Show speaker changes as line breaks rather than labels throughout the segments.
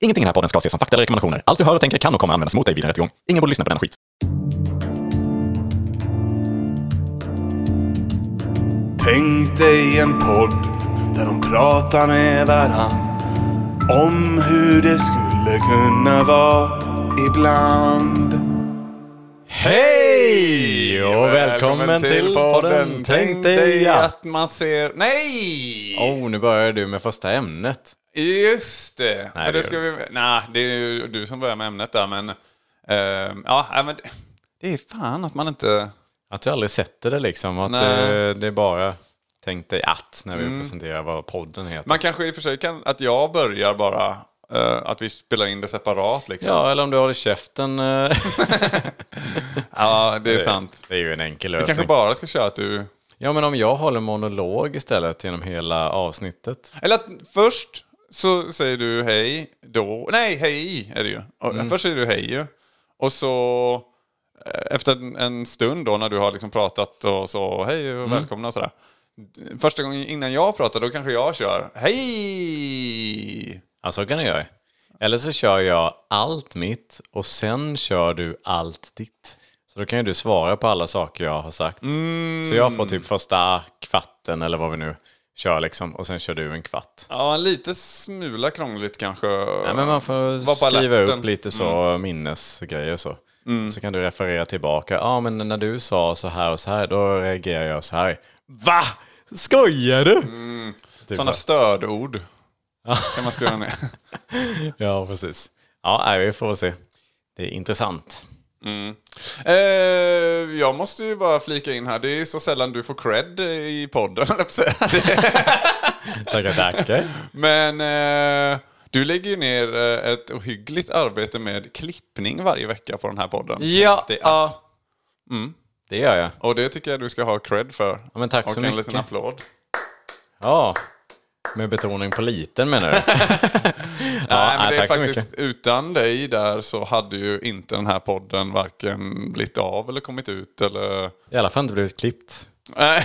Ingenting i den här podden ska ses som fakta eller rekommendationer. Allt du hör och tänker kan och kommer användas mot dig vid en rättegång. Ingen borde lyssna på den skit.
Tänk dig en podd där de pratar med varann om hur det skulle kunna vara ibland.
Hej
eh,
och välkommen, till podden Tänk dig att...
man ser... Nej!
Oh, nu börjar du med första ämnet.
Just det!
Nej, det
Nej, det,
gör
ska
du
vi... Nej, det är ju du som börjar med ämnet där, men... ehm, ja, nej, men det- det är fan att man inte...
Att du aldrig sätter det liksom, att
Nej.
det, det är bara tänk dig att när vi presenterar vad podden heter.
Man kanske i och för sig kan... Att jag börjar bara... eh, att vi spelar in det separat liksom.
Ja, eller om du håller käften. eh,
Ja, det är sant.
det är ju en enkel
Vi
lösning.
kanske bara ska köra att du...
Ja, men om jag håller monolog istället genom hela avsnittet.
Eller att först så säger du hej, då... Nej, hej är det ju. Och
Mm.
Först säger du hej ju. Och så eh, efter en, en stund då när du har liksom pratat och så hej
Mm.
och välkomna och sådär. Första gången innan jag pratar då kanske jag kör hej.
Ja, så kan du göra. Eller så kör jag allt mitt och sen kör du allt ditt. Så då kan ju du svara på alla saker jag har sagt.
Mm.
Så jag får typ första kvarten eller vad vi nu kör liksom och sen kör du en kvart.
Ja, lite smula krångligt kanske.
Nej, men man får
Var på
skriva
alerten. Mm.
upp lite så minnesgrejer och så. Så kan du referera tillbaka. Ja, men när du sa så här och så här, då reagerar jag så här. Va? Skojar du?
Mm.
Typ
Sådana
så.
stödord kan man skriva ner.
Ja, precis. Ja, nej, vi får väl se. Det är intressant.
Eh, jag måste ju bara flika in här, det är ju så sällan du får cred i podden, höll jag på att säga.
Tackar, tackar.
Men eh, du lägger ju ner eh, ett ohyggligt arbete med klippning varje vecka på den här podden.
ja,
Det är-
ja.
Mm.
det gör jag.
Och det tycker jag du ska ha cred för.
Ja, men tack
och
så
en
mycket.
liten applåd.
Ja, med betoning på liten menar du? ja,
Nej, men
nej,
det är
tack så
faktiskt,
mycket.
utan dig där så hade ju inte den här podden varken blivit av eller kommit ut eller...
I alla fall inte blivit klippt.
Nej.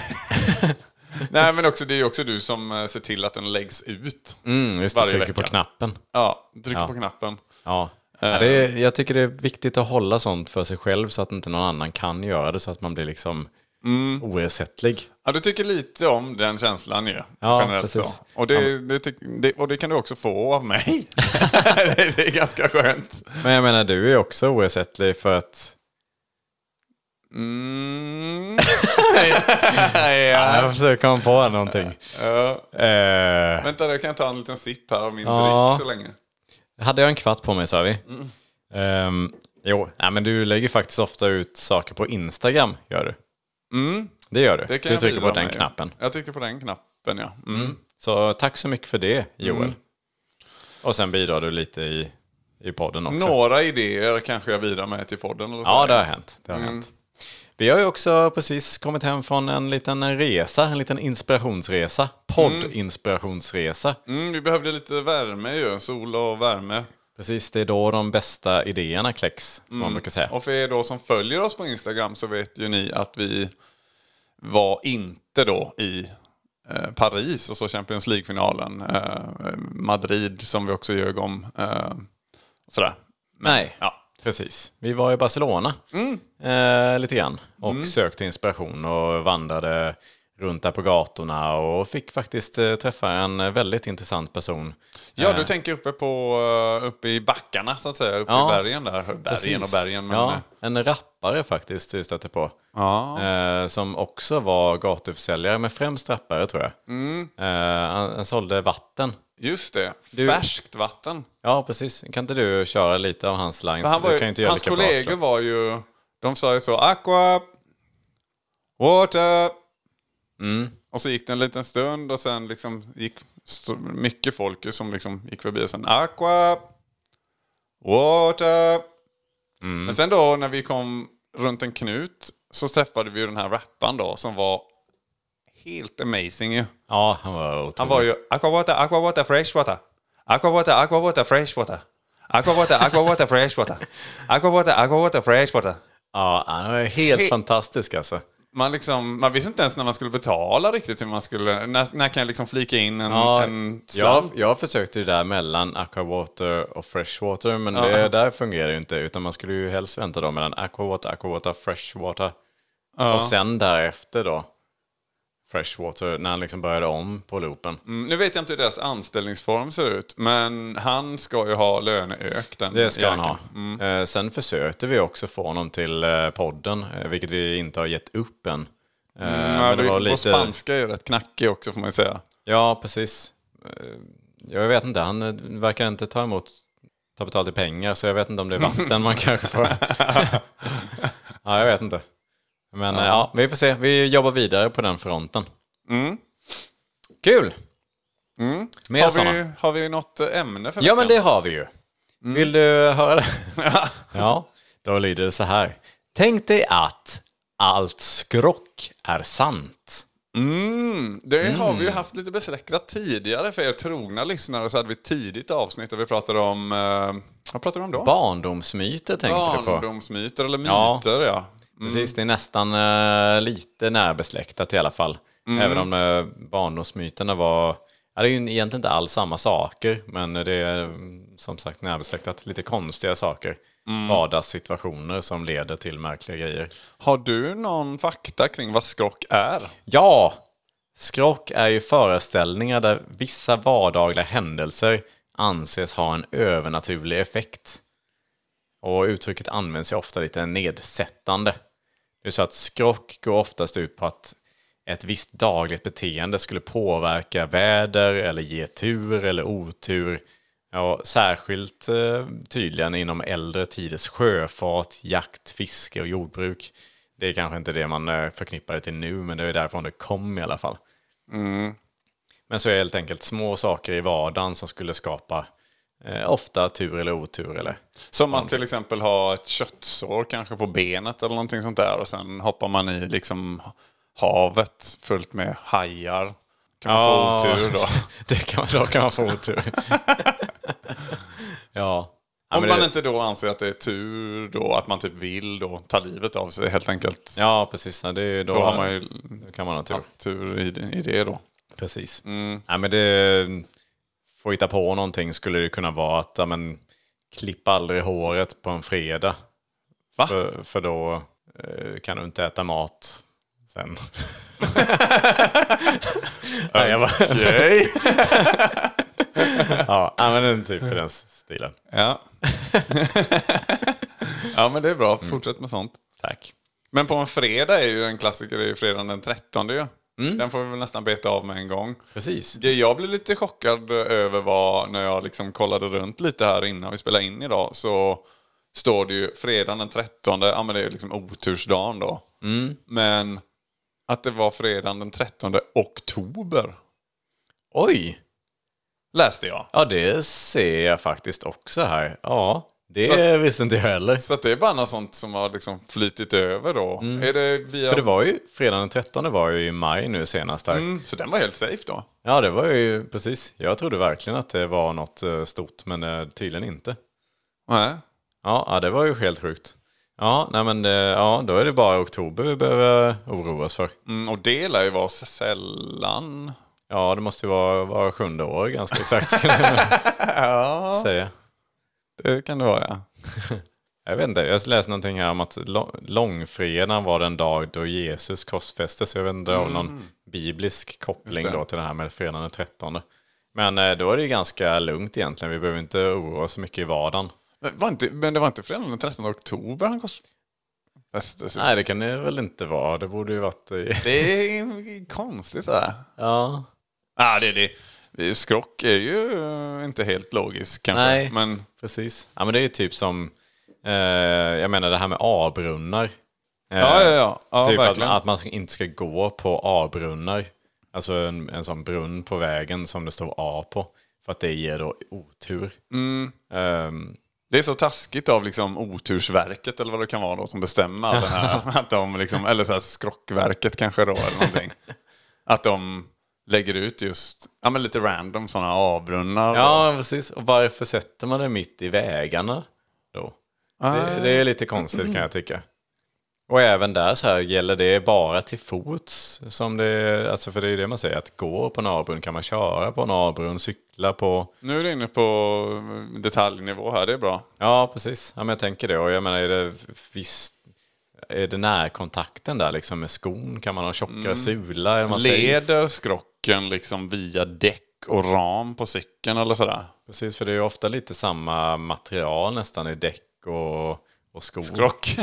Nej men också, det är ju också du som eh, ser till att den läggs ut.
Mm, just det,
Varje
trycker på
vecka. Eh.
knappen.
Ja, trycker
Ja.
på knappen.
Ja. Ja, det är, jag tycker det är viktigt att hålla sånt för sig själv så att inte någon annan kan göra det så att man blir liksom
Mm.
oersättlig.
Ja, du tycker lite om den känslan ju.
Ja,
generellt
precis.
Så. Och, det, det, tyck- det, och det kan du också få av mig. det, det är ganska skönt.
Men jag menar, du är också oersättlig för att...
Mm.
Jag försöker komma på någonting.
Äh. Ja.
Eh,
Vänta, då kan jag ta en liten sipp här av min
Ja.
dryck så länge.
hade jag en kvart på mig sa vi. Ehm, jo, nej, men du lägger faktiskt ofta ut saker på Instagram, gör du.
Mm,
Det gör du.
det kan
du
jag
trycker på
bidra
den
med ju.
knappen.
Jag trycker på den knappen, ja. Mm.
Så tack så mycket för det, Joel.
Mm.
Och sen bidrar du lite i, i podden också.
Några idéer kanske jag bidrar med till podden. Eller så.
Ja, det har hänt. Det har
Mm.
hänt. Vi har ju också precis kommit hem från en liten resa, en liten inspirationsresa. Poddinspirationsresa.
Mm, vi behövde lite värme ju, sol och värme.
Precis, det är då de bästa idéerna kläcks, som
Mm.
man brukar säga.
Och för er då som följer oss på Instagram så vet ju ni att vi var inte då i eh, Paris och så Champions League-finalen. Eh, Madrid som vi också ljög om. Eh, sådär.
Nej,
Ja.
precis. Vi var i Barcelona
Mm.
eh, lite grann och sökte inspiration och vandrade runt där på gatorna och fick faktiskt eh, träffa en väldigt intressant person. Eh,
Ja, du tänker uppe, på, eh, uppe i backarna så att säga. Uppe
Ja.
i bergen där. Bergen och bergen. Men,
ja,
eh,
en rappare faktiskt vi stötte på.
ja.
Eh, som också var gatuförsäljare, men främst rappare tror jag.
Mm.
Eh, han, han sålde vatten.
Just det. Färskt vatten.
Ja, precis. Kan inte du köra lite av hans lines?
För han var
du
ju,
kan ju inte göra
hans
lika bra
kollegor
såklart.
var ju... De sa ju så Aqua, Water. Mm. Och så gick det en liten stund och sen liksom gick st- mycket folk ju som liksom gick förbi och sen Aqua, Water.
Mm.
Men sen då när vi kom runt en knut så träffade vi ju den här rapparen då som var helt amazing ju.
Ja, han var otrolig.
Han var ju aquawater, aquawater, freshwater. Aquawater, aquawater, freshwater. Aquawater, aquawater, freshwater. Aquawater, aquawater, freshwater.
Ja, han var helt fantastisk alltså.
Man, liksom, man visste inte ens när man skulle betala riktigt. Hur man skulle, när, när kan jag liksom flika in en,
Ja,
en
jag,
slant?
jag försökte ju där mellan aquawater och freshwater, men det där fungerar ju inte. Utan man skulle ju helst vänta då mellan aquawater, aquawater, freshwater. Och sen därefter då, freshwater, när han liksom började om på loopen.
Mm, Nu vet jag inte hur deras anställningsform ser ut, men han ska ju ha löneök. Den
Det ska han
jäkeln.
ha.
Mm.
Eh, sen försökte vi också få honom till eh, podden, eh, vilket vi inte har gett upp än. Eh,
Ja,
men det var
Och
lite...
spanska är ju rätt knackig också får man ju säga.
Ja, precis. Eh, Jag vet inte, han eh, verkar inte ta emot, ta betalt i pengar, så jag vet inte om det är vatten man kanske får. ja, jag vet inte. Men ja. ja, vi får se. Vi jobbar vidare på den fronten. Kul! Mer
Mm. Har
sådana.
vi, har vi något ämne för
Ja, men det
veckan?
har vi ju.
Mm.
Vill du höra det? ja, då lyder det så här. Tänk dig att allt skrock är sant.
Mm, det har vi ju haft lite besläktat tidigare för er trogna lyssnare. Så hade vi ett tidigt avsnitt där vi pratade om... Eh, vad pratade vi om då?
Barndomsmyter tänker du på.
Barndomsmyter eller
Ja.
myter, ja.
Precis, det är nästan eh, lite närbesläktat i alla fall. Även om uh, barndomsmyterna var... Ja, det är ju egentligen inte alls samma saker, men det är mm, som sagt närbesläktat. Lite konstiga saker. Vardagssituationer som leder till märkliga grejer.
Har du någon fakta kring vad skrock är?
Ja! Skrock är ju föreställningar där vissa vardagliga händelser anses ha en övernaturlig effekt. Och uttrycket används ju ofta lite nedsättande. Det är så att skrock går oftast ut på att ett visst dagligt beteende skulle påverka väder eller ge tur eller otur. Ja, särskilt eh, tydligen inom äldre tiders sjöfart, jakt, fiske och jordbruk. Det är kanske inte det man eh, förknippar det till nu, men det är därifrån det kom i alla fall. Men så är det helt enkelt små saker i vardagen som skulle skapa eh, ofta tur eller otur. Eller.
Som att till exempel ha ett köttsår kanske på benet eller någonting sånt där och sen hoppar man i liksom havet fullt med hajar. Kan man få otur då?
det kan, då kan man få otur. ja. Ja,
Om
men
man
det-
inte då anser att det är tur då, att man typ vill då ta livet av sig helt enkelt.
Ja, precis. Nej, det, är- då,
Då har man ju
då kan man ha tur. Mm.
tur i, det- i det då.
Precis. Ja, men det, för att hitta på någonting skulle det kunna vara att ja, men, klippa aldrig håret på en fredag.
Va?
För, för då eh, kan du inte äta mat sen. Nej, jag bara,
Okej.
ja, ja, men den typ i den stilen.
ja. ja, men det är bra. Fortsätt med sånt.
Tack.
Men på en fredag är ju en klassiker, det är ju fredagen den 13 ju. Den får vi väl nästan beta av med en gång.
Precis.
Det jag blev lite chockad över var när jag liksom kollade runt lite här innan vi spelade in idag så står det ju fredagen den 13, ja men det är ju liksom otursdagen då. Men att det var fredagen den 13 oktober
Oj!
läste jag.
Ja, det ser jag faktiskt också här. Ja, det
Så-
visste inte jag heller.
Så att det är bara något sånt som har liksom flytit över då. Är det via...
För det var ju, fredagen den 13 var ju i maj nu senast här.
Mm, så den var helt safe då?
Ja, det var ju precis. Jag trodde verkligen att det var något eh, stort, men eh, tydligen inte.
Nej.
Ja, ja, det var ju helt sjukt. Ja, nej men eh, ja, då är det bara oktober vi behöver oroa oss för.
Mm, och det lär ju vara sällan.
Ja, det måste ju vara, vara sjunde år ganska exakt. Säga.
Det kan det vara ja.
Jag vet inte, jag läste någonting här om att lo- långfredagen var den dag då Jesus korsfästes. Jag vet inte om någon biblisk koppling
Mm. Just det.
då till det här med fredagen den 13. Men eh, då är det ju ganska lugnt egentligen. Vi behöver inte oroa oss så mycket i vardagen.
Men, var inte, men det var inte fredagen den 13 oktober han korsfästes?
Nej, det kan det väl inte vara. Det borde ju varit... i-
Det är konstigt det där.
Ja.
Ja, det är det. Skrock är ju eh, inte helt logiskt kanske.
Nej.
Men
Precis. Ja, men det är ju typ som... Eh, jag menar det här med A-brunnar. Eh,
ja, ja, ja. ja
typ att,
verkligen.
att man inte ska gå på A-brunnar. Alltså en, en sån brunn på vägen som det står A på. För att det ger då otur. Ehm,
Det är så taskigt av liksom otursverket eller vad det kan vara då som bestämmer det här. att de liksom, eller så här skrockverket kanske då eller någonting. att de lägger ut just ja, men lite random sådana avbrunnar.
ja, precis. Och varför sätter Ah. man det mitt i vägarna då? Det, det är lite konstigt kan jag tycka. Och även där så här, gäller det bara till fots? Som det, alltså för det är ju det man säger, att gå på en avbrunn, kan man köra på en avbrunn, cykla på...
Nu är du inne på detaljnivå här, det är bra.
Ja, precis. Ja, men jag tänker det. Och jag menar, är det, visst, är det närkontakten där liksom med skon? Kan man ha tjockare
Mm.
sula? Är man safe?
Leder skrocken liksom via däck och ram på cykeln eller sådär?
Precis, för det är ju ofta lite samma material nästan i däck och, och skor.
Skrock.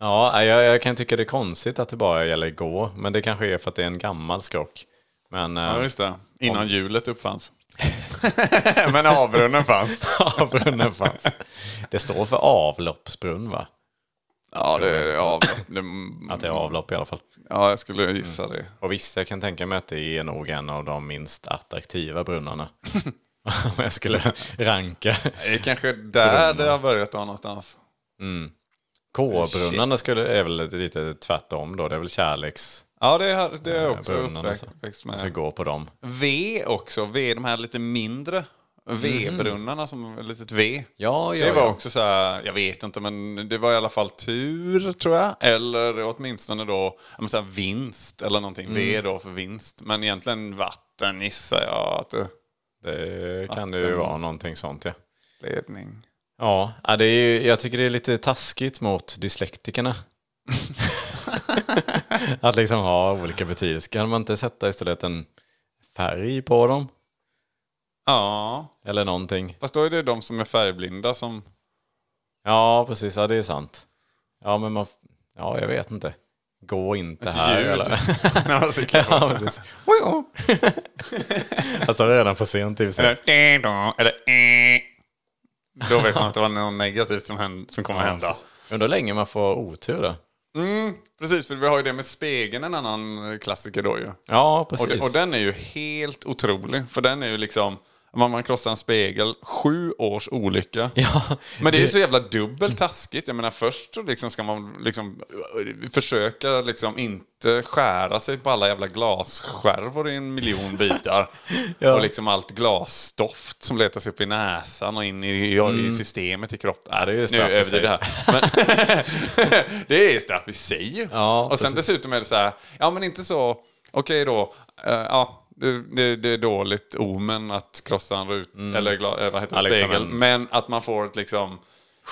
Ja, jag, jag kan tycka det är konstigt att det bara gäller gå, men det kanske är för att det är en gammal skrock. Men eh,
Ja, just det. Innan hjulet uppfanns. Men avrunnen fanns.
avbrunnen fanns. Det står för avloppsbrunn va?
Ja, det är avlopp. Det,
Att det är avlopp i alla fall.
ja, jag skulle gissa det.
Och visst, jag kan tänka mig att det är nog en av de minst attraktiva brunnarna. Om jag skulle ranka.
Det är kanske där det har börjat då någonstans.
K-brunnarna skulle, är väl lite tvärtom då. Det är väl kärleks...
Ja, det är, det är också
brunnen,
uppväxt
Man
med.
ska gå på dem.
V också. V, de här lite mindre V-brunnarna som ett litet V.
Ja,
Det var också så här, jag vet inte, men det var i alla fall tur tror jag. Eller åtminstone då ja, men så här vinst eller någonting.
Mm.
V då för vinst. Men egentligen vatten gissar jag att det
Det kan ju vara någonting sånt ja.
ledning.
Ja, ja, det är ju, jag tycker det är lite taskigt mot dyslektikerna. att liksom ha olika betydelser. Kan man inte sätta istället en färg på dem?
Ja,
Eller någonting.
fast då är det de som är färgblinda som...
Ja, precis. Ja, det är sant. Ja, men man... Ja, jag vet inte. Gå inte här.
ljud.
Eller?
när de cyklar på.
ja, precis. alltså redan för sent i och för sig.
Eller "Eh, då", eller "Eh". Då vet man att det var något negativt som, händ, som kommer
Ja,
hända.
precis. Undrar hur länge man får otur då.
Mm, precis, för vi har ju det med spegeln, en annan klassiker då ju.
Ja,
Och,
precis.
det- och den är ju helt otrolig. För den är ju liksom, man, man krossar en spegel, sju års olycka.
Ja,
Men det är ju så jävla dubbelt taskigt. Jag menar först så liksom ska man liksom ö, försöka liksom inte skära sig på alla jävla glasskärvor i en miljon bitar.
Ja.
Och liksom allt glasstoft som letar sig upp i näsan och in i, i, i systemet i kroppen.
Ja, det är ju
Nu
straff i
överdriver
sig.
det här. Men det är straff i sig.
Ja,
och sen
precis.
dessutom är det så här, ja men inte så, okej då, eh, ja det, det, det är dåligt omen att krossa en rut, eller gla, eh, vad heter det,
Mm. Ja, liksom
spegel.
en-
Men att man får ett liksom...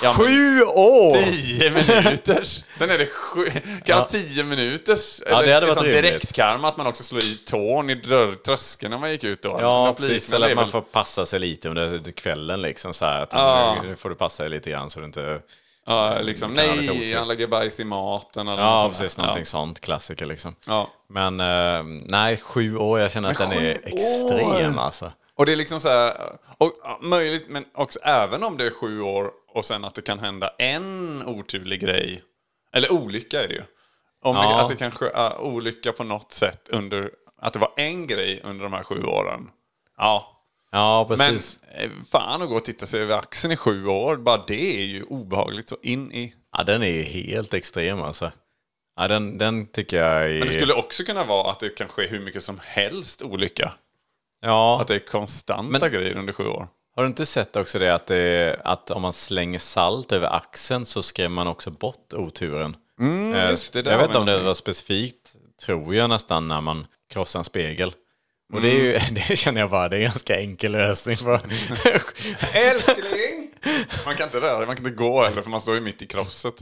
Ja, men-
Sju år!
Tio minuters. Sen är det sju... Kan
Ja.
ha tio minuters? liksom
Ja, det hade varit rimligt.
Direktkarma att man också slår i tån i dörrtröskeln när man gick ut då.
Ja,
Något
precis.
liknande
Eller
är
att man
väl-
får passa sig lite under kvällen. Liksom, så här, att
Ja.
Nu får du passa dig lite grann så du inte...
Ja, liksom,
kan ha lite
nej,
otur.
han lägger bajs i maten eller
Ja,
något sånt där.
alltså, precis. Någonting sånt. Klassiker liksom.
Ja.
Men eh, nej, sju år. Jag känner att den är
sju
extrem alltså.
Och det är liksom så här, och, ja, möjligt, men också även om det är sju år och sen att det kan hända en oturlig grej, eller olycka är det ju. Om det,
Ja.
att det kanske är olycka på något sätt under, att det var en grej under de här sju åren. Ja,
Ja,
men
precis.
eh, fan att gå och titta sig över axeln i sju år, bara det är ju obehagligt så in i.
Ja, den är ju helt extrem alltså. Ja, den, den tycker jag är...
Men det skulle också kunna vara att det kan ske hur mycket som helst olycka.
Ja,
Att det är konstanta
Men-
grejer under sju år.
har du inte sett också det att, det att om man slänger salt över axeln så skrämmer man också bort oturen? Eh,
Mm, just det, där
jag
har
vet
vi
inte om det
någonting.
var specifikt, tror jag nästan, när man krossar en spegel. Och det, är
Mm.
ju, det känner jag bara, det är en ganska enkel lösning. För.
Älskling! Man kan inte röra man kan inte gå heller för man står ju mitt i krosset.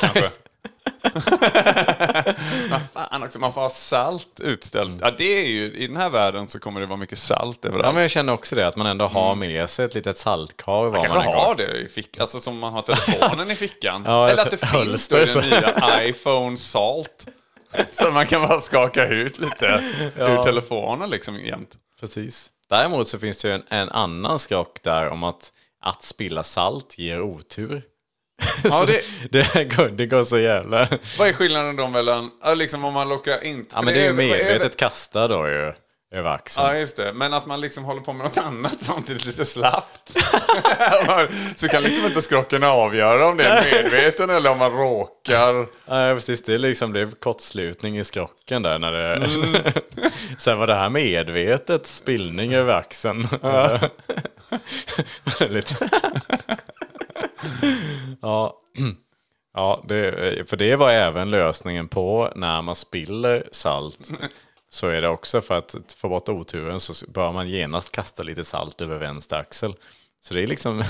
Kanske. Vad fan också, man får ha salt utställt. Ja, det är ju, I den här världen så kommer det vara mycket salt överallt.
ja, men jag känner också det, att man ändå har med sig ett litet saltkar var man,
Mm. kanske
än
har
går.
det i fickan, alltså som man har telefonen i fickan.
Ja,
Eller
jag
att det
tror-
finns då i
hölster,
den nya iPhone Salt. Så man kan bara skaka ut lite ur telefonen liksom jämt.
Precis. Däremot så finns det ju en, en annan skrock där om att att spilla salt ger otur.
Ja,
Så
det-
det, går, det går så jävla...
Vad är skillnaden då mellan, ja, liksom om man lockar in...
Ja, men det är ju medvetet kasta då ju, över axeln.
Ja, just det. Men att man liksom håller på med något annat samtidigt lite slappt. så kan liksom inte skrocken avgöra om det är medveten eller om man råkar.
Ja, precis. Det är liksom det är kortslutning i skrocken där. När det... Sen var det här medvetet spillning över axeln. Lite... ja. Ja, det, för det var även lösningen på när man spiller salt. Så är det också för att få bort oturen så bör man genast kasta lite salt över vänster axel. Så det är liksom...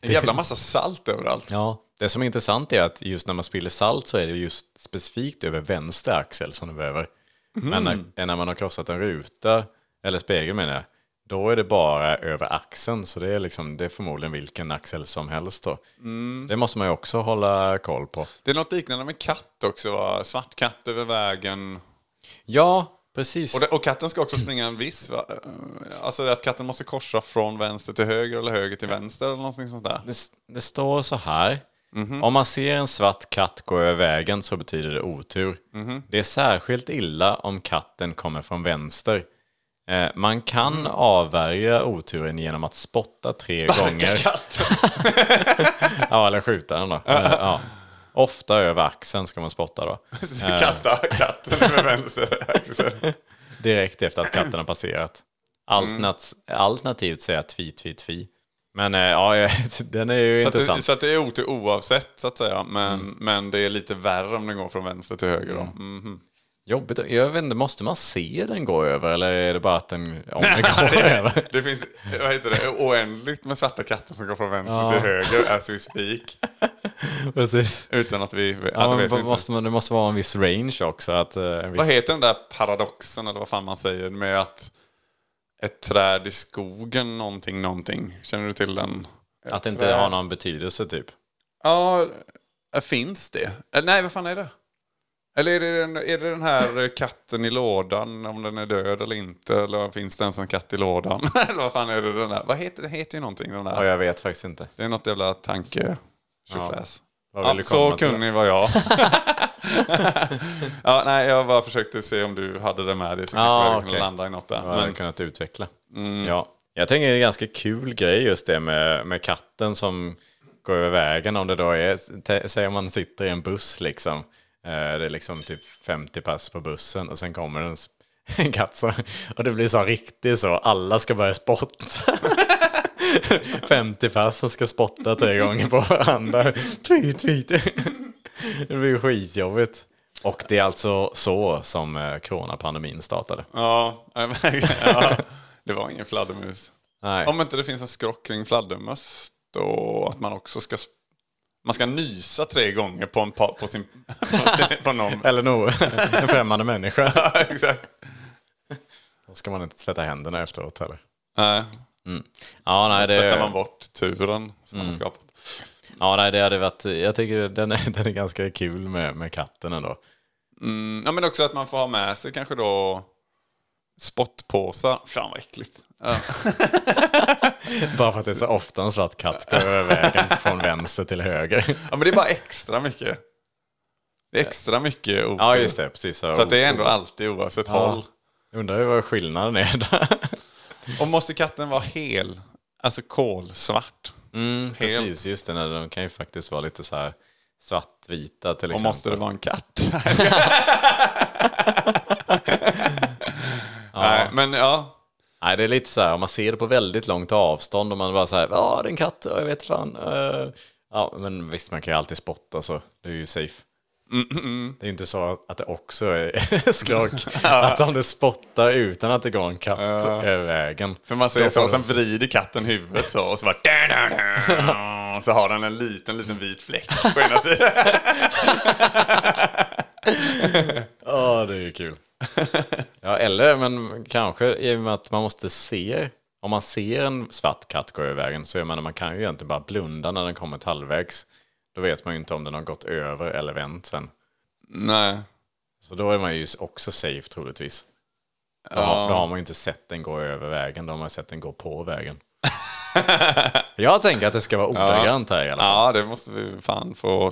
En jävla massa salt överallt.
Ja, det som är intressant är att just när man spiller salt så är det just specifikt över vänster axel som du behöver. Men när, när man har krossat en ruta, eller spegel menar jag, då är det bara över axeln. Så det är, liksom, det är förmodligen vilken axel som helst då. Det måste man ju också hålla koll på.
Det är något liknande med katt också va? Svart katt över vägen.
Ja, precis.
Och, det, och katten ska också springa en viss va? Alltså att katten måste korsa från vänster till höger eller höger till vänster eller någonting sånt där.
Det, det står så här.
Mhm.
Om man ser en svart katt gå över vägen så betyder det otur.
Mhm.
Det är särskilt illa om katten kommer från vänster. Eh, man kan
Mm.
avvärja oturen genom att spotta tre gånger. ja, eller skjuta den då. Eh, ja. Ofta över axeln ska man spotta då.
Kasta katten över vänster axel.
Direkt efter att katten har passerat. Alternat,
Mm.
Alternativt säga tvi, tvi, tvi. Men eh, ja, jag- den är ju
Så att,
intressant.
det, så att det är otur oavsett så att säga. Men, men det är lite värre om den går från vänster till höger. Då. Mhm.
Jobbigt. Jag vet inte, måste man se den gå över eller är det bara att den, om den går över?
Det finns vad heter det, oändligt med svarta katter som går från vänster
Ja.
till höger as we speak.
Precis.
Utan att vi... Ja,
Ja,
det
men
vet vi
vad-
inte.
måste man, det måste vara en viss range också. Att, eh, en viss,
Vad heter den där paradoxen eller vad fan man säger med att ett träd i skogen någonting någonting. Känner du till den?
att det inte har någon betydelse typ.
Ja, äh, finns det? Eller, nej, vad fan är det? Eller är det, den, är det den här eh, katten i lådan, om den är död eller inte? Eller finns det ens en katt i lådan? eller vad fan är det den där? Vad heter det? heter ju någonting den
Ja,
där.
jag vet faktiskt inte.
Det är något jävla tanke... Tjofräs.
Vad
Ja,
vill du
så
komma till?
kunnig var jag. ja, nej, jag bara försökte se om du hade det med dig så
Ja,
kanske jag
okej.
kunde landa i något där.
Vad hade
Men,
kunnat utveckla. Ja. Mm. Jag tänker det är en ganska kul grej just det med, med katten som går över vägen. Om det då är, t- säg om man sitter i en buss liksom. Eh, Det är liksom typ 50 pass på bussen och sen kommer en, s- en katt så, och det blir så riktigt så, alla ska börja spotta. 50 pass som ska spotta tre gånger på varandra. Tweet, tweet. Det blir ju skitjobbigt. Och det är alltså så som eh, coronapandemin startade.
ja, ja, det var ingen fladdermus.
Nej.
Om inte det finns en skrock kring fladdermöss då att man också ska... sp- Man ska nysa tre gånger på, en pa, på sin... På, sin, på någon.
Eller nog en främmande människa.
Ja, Exakt.
Då ska man inte tvätta händerna efteråt heller.
Nej,
Ja, nej,
tvättar man
det, Mm.
bort turen som man har skapat.
ja, nej, det hade varit... Jag tycker den är, den är ganska kul med, med katten ändå.
Mm, ja, men också att man får ha med sig kanske då spottpåsar. Fan vad äckligt. Ja.
Bara för att det är så ofta en svart katt går över vägen från vänster till höger.
ja, men det är bara extra mycket. Det är extra mycket otur.
Ja, just det. Precis.
Så att det är ändå alltid oavsett håll.
Jag undrar ju vad skillnaden är där.
Och måste katten vara hel? Alltså kolsvart?
Mm, precis, just det. Nej, de kan ju faktiskt vara lite så här svartvita till
Och
exempel.
måste det vara en katt? Nej, men ja.
Nej, det är lite så här, om man ser det på väldigt långt avstånd och man bara så här, ja det är en katt, ja, jag vet fan. eh." Ja, men visst, man kan ju alltid spotta så det är ju safe. Det är ju inte så att det också är skrock. att om det spottar utan att det går en katt över vägen.
För man ser
Då
så,
får
och sen vrider katten huvudet så och så bara... Och så har den en liten, liten vit fläck på ena sidan.
Ja, det är ju kul. ja, eller men kanske i och med att man måste se. Om man ser en svart katt gå över vägen så jag menar, man kan ju egentligen bara blunda när den kommer till halvvägs. Då vet man ju inte om den har gått över eller vänt sen.
Nej.
Så då är man ju också safe troligtvis. Då,
Ja.
har, då har man ju inte sett den gå över vägen, då har man sett den gå på vägen. jag tänker att det ska vara ordagrant här i alla fall.
Ja, det måste vi fan få...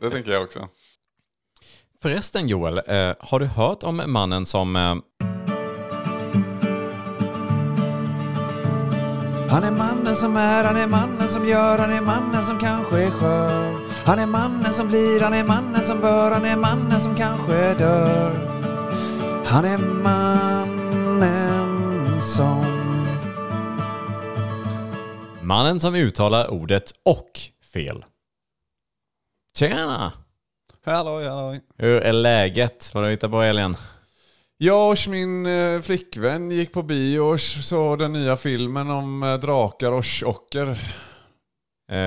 Det tänker jag också.
Förresten Joel, eh, har du hört om mannen som... Eh,
Han är mannen som är, han är mannen som gör, han är mannen som kanske är skör. Han är mannen som blir, han är mannen som bör, han är mannen som kanske dör. Han är mannen som...
mannen som uttalar ordet och fel. Tjena!
Halloj, halloj.
Hur är läget? Vad har du hittat på helgen?
Jag och min eh, flickvän gick på bio och såg den nya filmen om eh, drakar och ocker.
Eh,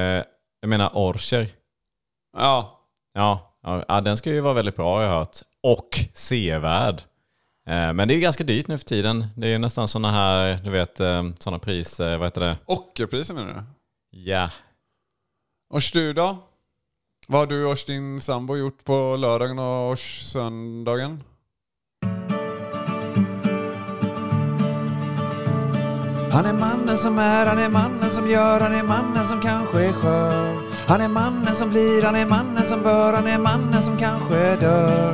jag menar orcher.
Ja,
Ja, ja, ja, den ska ju vara väldigt bra har jag hört. Och sevärd. Eh, men det är ju ganska dyrt nu för tiden. Det är ju nästan sådana här, du vet, eh, sådana priser, vad heter det?
ockerpriset menar du?
Ja.
Ors du då? Vad har du och din sambo gjort på lördagen och ors söndagen?
Han är mannen som är, han är mannen som gör, han är mannen som kanske är skör. Han är mannen som blir, han är mannen som bör, han är mannen som kanske dör.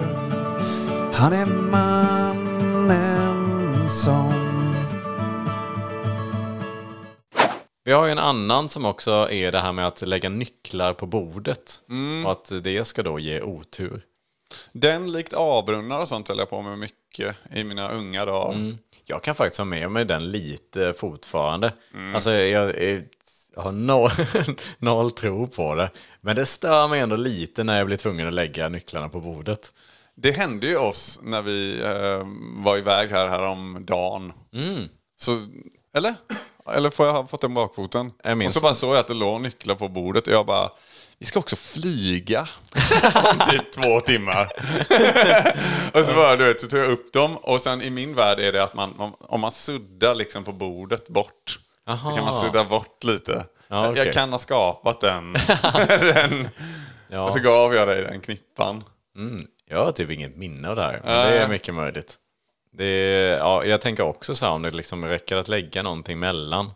Han är mannen som
Vi har ju en annan som också är det här med att lägga nycklar på bordet. Och att det ska då ge otur.
Den likt avbrunnar och sånt höll jag på med mycket i mina unga dagar.
Jag kan faktiskt ha med mig den lite fortfarande. Alltså jag, jag har noll, noll tro på det. Men det stör mig ändå lite när jag blir tvungen att lägga nycklarna på bordet.
Det hände ju oss när vi eh, var iväg här häromdagen.
Mm.
Så, eller? Eller får jag ha fått den bakfoten?
Jag minns
och så bara såg jag att det låg nycklar på bordet och jag bara, vi ska också flyga om typ två timmar. och så bara, du vet, så tog jag upp dem och sen i min värld är det att man, man, om man suddar liksom på bordet bort,
Aha.
då kan man sudda bort lite.
Ja,
Jag-
okej.
Jag kan ha skapat den. den.
Ja.
Och så gav jag dig den knippan.
Mm, jag har typ inget minne av det här, men det är
Nej.
mycket möjligt. Det är, ja, jag tänker också så här om det liksom räcker att lägga någonting mellan.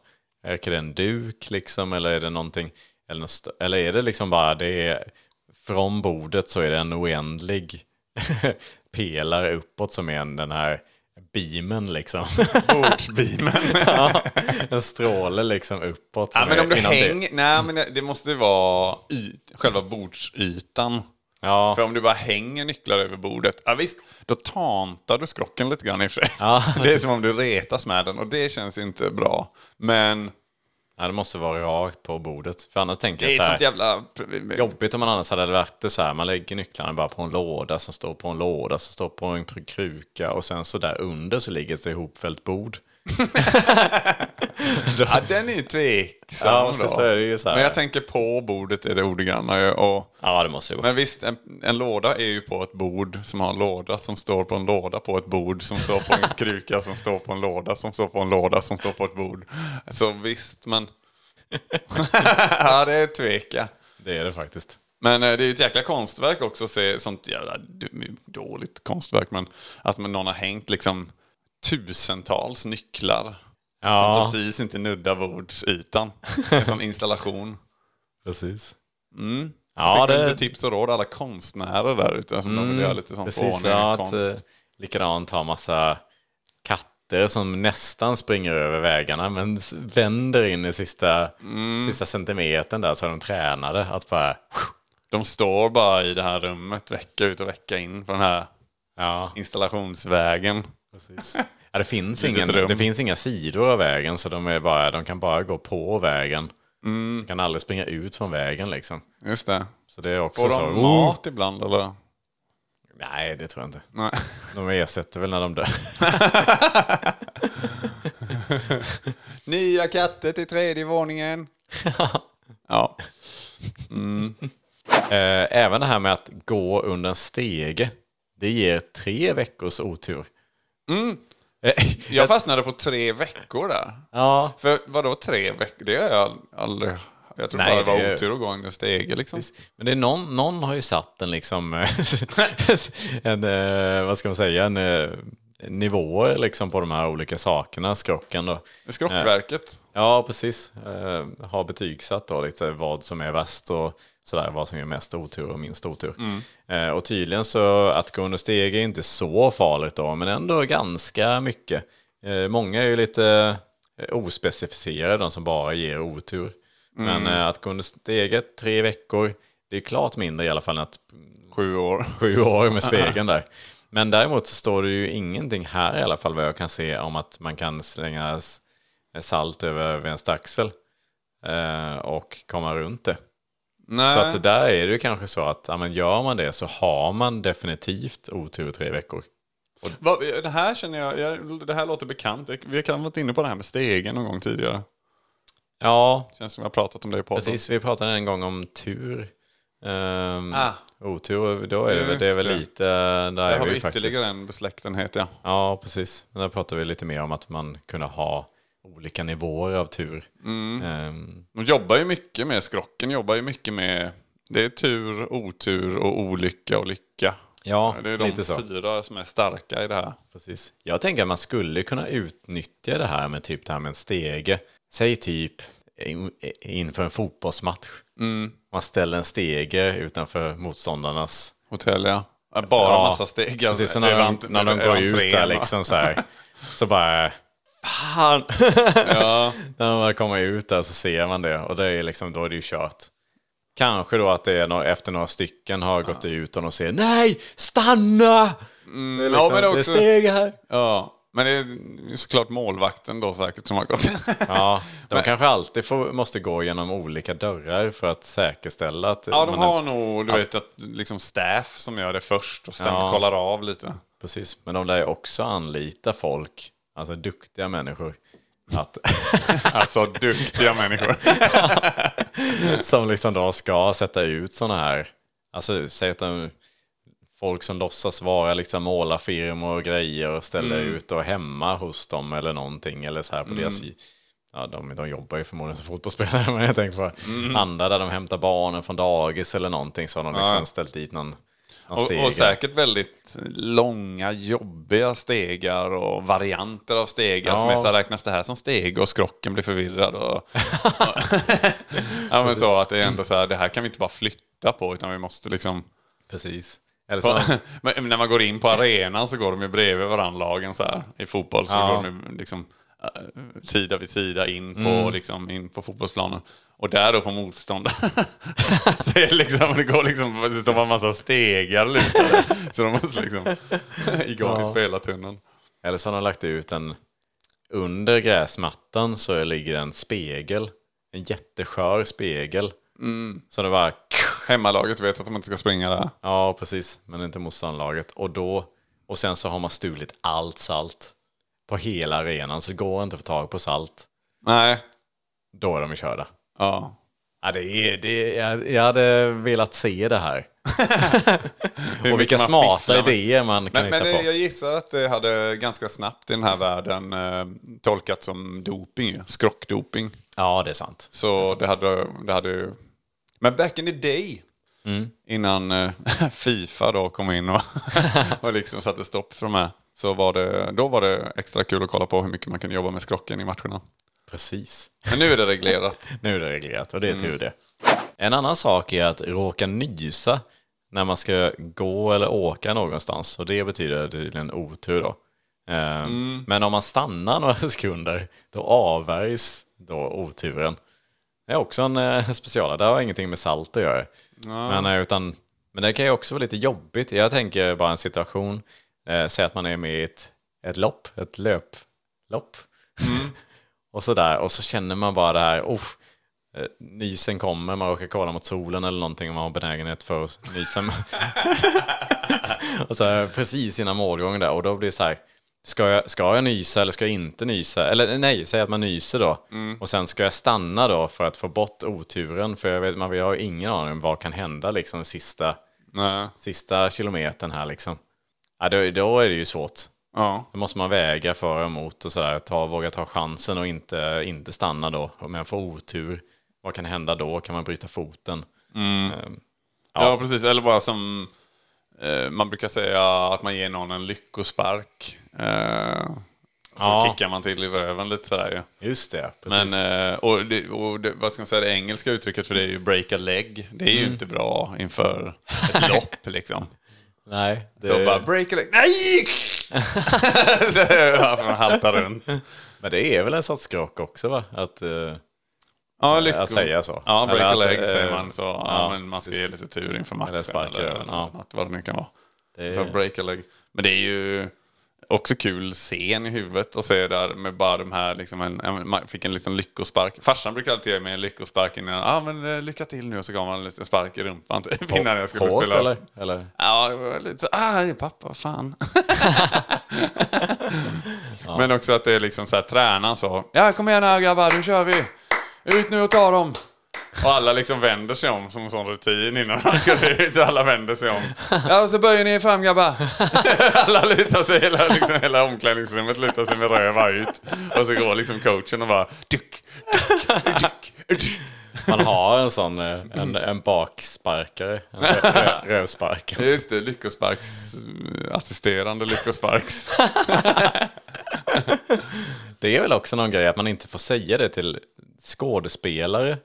Räcker det en duk liksom eller är det någonting, eller, något, st- eller är det liksom bara det är, från bordet så är det en oändlig pelare uppåt som är en, den här beamen liksom.
Bordsbeamen.
Ja, en stråle liksom uppåt.
Ja,
som
men
är
om du
inom det-
hänger... Nej, men det, det måste ju vara yt, själva bordsytan.
Ja.
För om du bara hänger nycklar över bordet, ja visst, då tantar du skrocken lite grann i och för sig.
Ja.
Det är som om du retas med den och det känns ju inte bra. Men
ja, det måste vara rakt på bordet. För annars tänker
det
jag
är
så
ett
här.
sånt jävla...
Jobbigt om man annars hade varit det så här, man lägger nycklarna bara på en låda som står på en låda som står på en pr- kruka och sen så där under så ligger ett ihopfällt bord.
Ja, den är ju tveksam
Ja, så-
då.
så är det ju så här.
Men jag tänker på bordet är det ordgranna ju, och...
Ja, det måste ju vara.
Men visst, en, en låda är ju på ett bord som har en låda som står på en låda på ett bord som står på en kruka som står på en låda som står på en låda som står på ett bord. Så visst, men... ja, det är tveka.
Det är det faktiskt.
Men eh, det är ju ett jäkla konstverk också att se sånt jävla d- dåligt konstverk, men att man- någon har hängt liksom tusentals nycklar
Ja.
som precis inte nuddar bordsytan. En sån installation.
Precis.
Ja,
Ja,
Fick det...
det Mm,
lite tips och råd alla konstnärer där ute som de vill göra lite sånt
precis.
ordning
Ja,
och
att, eh,
konst.
likadant har massa katter som nästan springer över vägarna men s- vänder in i sista, sista centimetern där så är de tränade att bara...
De står bara i det här rummet vecka ut och vecka in på den här
Ja,
installationsvägen.
Precis. Ja, det, finns
Litet
ingen,
rum.
det finns inga sidor av vägen så de, är bara, de kan bara gå på vägen.
Mm.
De kan aldrig springa ut från vägen liksom.
Just det.
Så det är också
Får
så.
de
oh!
mat ibland eller?
Nej, det tror jag inte.
Nej.
De ersätter väl när de dör.
Nya katter till tredje våningen. ja.
Eh, Även det här med att gå under en stege. Det ger tre veckors otur.
Mm.
Eh,
Jag fastnade på tre veckor där.
ja,
För vadå tre veckor? Det har jag aldrig... Jag tror
Nej,
bara det var
det är-
otur att gå under stege liksom.
Precis. Men det är någon, någon har ju satt en liksom, en, eh, vad ska man säga, en eh, nivåer liksom på de här olika sakerna, skrocken då. Eh,
Skrockverket.
Ja, precis. Eh, har betygsatt då lite vad som är värst och sådär, vad som är mest otur och minst otur.
Mm.
Eh, och tydligen så att gå under stege är inte så farligt då, men ändå ganska mycket. Eh, många är ju lite eh, ospecificerade, de som bara ger otur.
Mm.
Men eh, att gå under stege tre veckor, det är klart mindre i alla fall än att
Sju år.
sju år med spegeln där. Men däremot så står det ju ingenting här i alla fall vad jag kan se om att man kan slänga s- salt över, över en staxel eh, och komma runt det.
Nej.
Så att det där är det ju kanske så att ja, men gör man det så har man definitivt otur i tre veckor.
Vad- Det här känner jag, jag, det här låter bekant. Vi kan ha varit inne på det här med stegen någon gång tidigare.
Ja,
Känns som jag har pratat om det i podden.
precis. Vi pratade en gång om tur. Ehm,
Ah.
Otur, då är det, väl- det är väl
Just det.
lite... eh, Där,
Där
är
har
vi
vi
ju faktiskt.
ytterligare en besläktenhet ja.
Ja, precis. Men där pratar vi lite mer om att man kunde ha olika nivåer av tur.
Mm.
Ehm,
De jobbar ju mycket med skrocken, jobbar ju mycket med... Det är tur, otur och olycka och lycka.
ja,
Det är
lite
de
så.
fyra som är starka i det här.
Precis. Jag tänker att man skulle kunna utnyttja det här med typ det här med en stege. Säg typ in- inför en fotbollsmatch. Man ställer en stege utanför motståndarnas...
Hotell ja. Ja, Bara
Ja,
massa steg. alltså.
Precis, så när, de,
Event-
när de går ut
entrén,
där
va?
liksom så här. Så bara... Fan! när man kommer ut där så ser man det och det är liksom, då är det ju kört. Kanske då att det är nå- efter några stycken har gått ut och de säger nej, stanna! det är liksom,
ja, men det är också-
det är steg här.
Ja. Men det är såklart målvakten då säkert som har gått.
Ja, de kanske alltid får, måste gå genom olika dörrar för att säkerställa att...
ja,
man-
de har nog, du vet, att liksom staff som gör det först och stämmer,
Ja.
kollar av lite.
Precis, men de lär ju också anlita folk, alltså duktiga människor, att,
Alltså duktiga människor.
som liksom då ska sätta ut sådana här... Alltså, säg att de, folk som låtsas vara liksom målarfirmor och grejer och ställer
Mm.
ut och hemma hos dem eller någonting, eller så här på deras... Ja, de, de jobbar ju förmodligen som fotbollsspelare, men jag tänker på
Mm.
andra där de hämtar barnen från dagis eller någonting, så har de liksom
Ja.
ställt dit någon... någon
Och,
stege.
och säkert väldigt långa, jobbiga stegar och varianter av stegar
Ja.
som är så här, räknas det här som steg och skrocken blir förvirrad. Och, ja, men så att det är ändå så här, det här kan vi inte bara flytta på utan vi måste liksom...
Precis. Eller så,
men när man går in på arenan så går de ju bredvid varandra lagen så här. I fotboll så
Ja.
går de ju liksom eh, sida vid sida in på,
Mm.
liksom, in på fotbollsplanen. Och där då på motståndaren. så är det, liksom, det går liksom, det står en massa stegar lutade. så de måste liksom igång i spelartunneln.
eller så har de lagt ut en... Under gräsmattan så ligger en spegel. En jätteskör spegel.
Mm.
Så det bara...
Hemmalaget vet att de inte ska springa där.
Ja, precis. Men inte motståndarlaget. Och då... Och sen så har man stulit allt salt. På hela arenan. Så det går inte att få tag på salt.
Nej.
Då är de ju körda.
Ja.
Ja, det är, det jag, jag hade velat se det här. och vilka
mycket man
smarta
fifflar med.
idéer man kan
Men, men
hitta
det,
på.
jag gissar att det hade ganska snabbt i den här världen eh, tolkats som doping, ju. skrockdoping.
Ja, det är sant.
Så det hade, det hade ju... Men back in the day, innan eh, Fifa då kom in och, och liksom satte stopp för de här, så var det, då var det extra kul att kolla på hur mycket man kunde jobba med skrocken i matcherna.
Precis.
Men nu är det reglerat.
Nu är det reglerat och det är tur det. En annan sak är att råka nysa när man ska gå eller åka någonstans och det betyder tydligen otur då. Eh, Men om man stannar några sekunder då avvärjs då oturen. Det är också en eh, special, det har ingenting med salt att göra. Men, eh, utan, men det kan ju också vara lite jobbigt. Jag tänker bara en situation, eh, säg att man är med i ett, ett lopp, ett löplopp och sådär. Och så känner man bara det här, oh, eh, nysen kommer, man råkar kolla mot solen eller någonting om man har benägenhet för att nysa. och så här, precis innan målgången där och då blir det så här, ska jag, ska jag nysa eller ska jag inte nysa? Eller nej, säg att man nyser då. Och sen ska jag stanna då för att få bort oturen för jag vet, man jag har ju ingen aning om vad kan hända liksom sista,
Nej.
sista kilometern här liksom. Ja, då, då är det ju svårt.
Ja.
Då måste man väga för och emot och sådär. Ta, våga ta chansen och inte, inte stanna då. Om jag får otur, vad kan hända då? Kan man bryta foten?
Mm.
Ehm,
Ja. precis. Eller bara som eh, man brukar säga att man ger någon en lyckospark. Eh, och så
Ja.
kickar man till i röven lite sådär ju.
Just det,
Men,
precis.
eh, och det, och det, vad ska man säga, det engelska uttrycket för det är ju break a leg. Det är ju inte bra inför ett lopp liksom.
Nej, det,
Så bara break a leg, nej! så ja, man haltar runt.
men det är väl en sorts skrock också va? Att, eh,
Ja, lycko.
Att säga så.
Ja, break
Eller
a
att,
leg säger
eh,
man så. Ja,
ja,
men man ska
precis.
ge lite tur inför matchen.
Eller sparka över, ja.
något, vad det nu kan vara.
det,
Så break a leg. Men det är ju... Också kul scen i huvudet och se där med bara de här, liksom en, en, man fick en liten lyckospark. Farsan brukade alltid ge mig en lyckospark innan, ah, men eh, lycka till nu, och så gav man en liten spark i rumpan typ, innan jag skulle
Hårt,
spela.
eller? eller?
Ja, det var lite så, aj pappa, fan. Men också att det är liksom så här, träna så. Ja, kom igen här grabbar, nu kör vi. Ut nu och ta dem. Och alla liksom vänder sig om som en sån rutin innan man kör ut. Så alla vänder sig om. Ja, och så böjer ni er fram grabbar. Alla lutar sig, hela, liksom, hela omklädningsrummet lutar sig med röva ut. Och så går liksom coachen och bara duck, duck, duck, duck.
Man har en sån, eh, en, en baksparkare. En rö- rö- rövsparkare.
Just det, lyckosparks... Assisterande lyckosparks.
Det är väl också någon grej att man inte får säga det till skådespelare.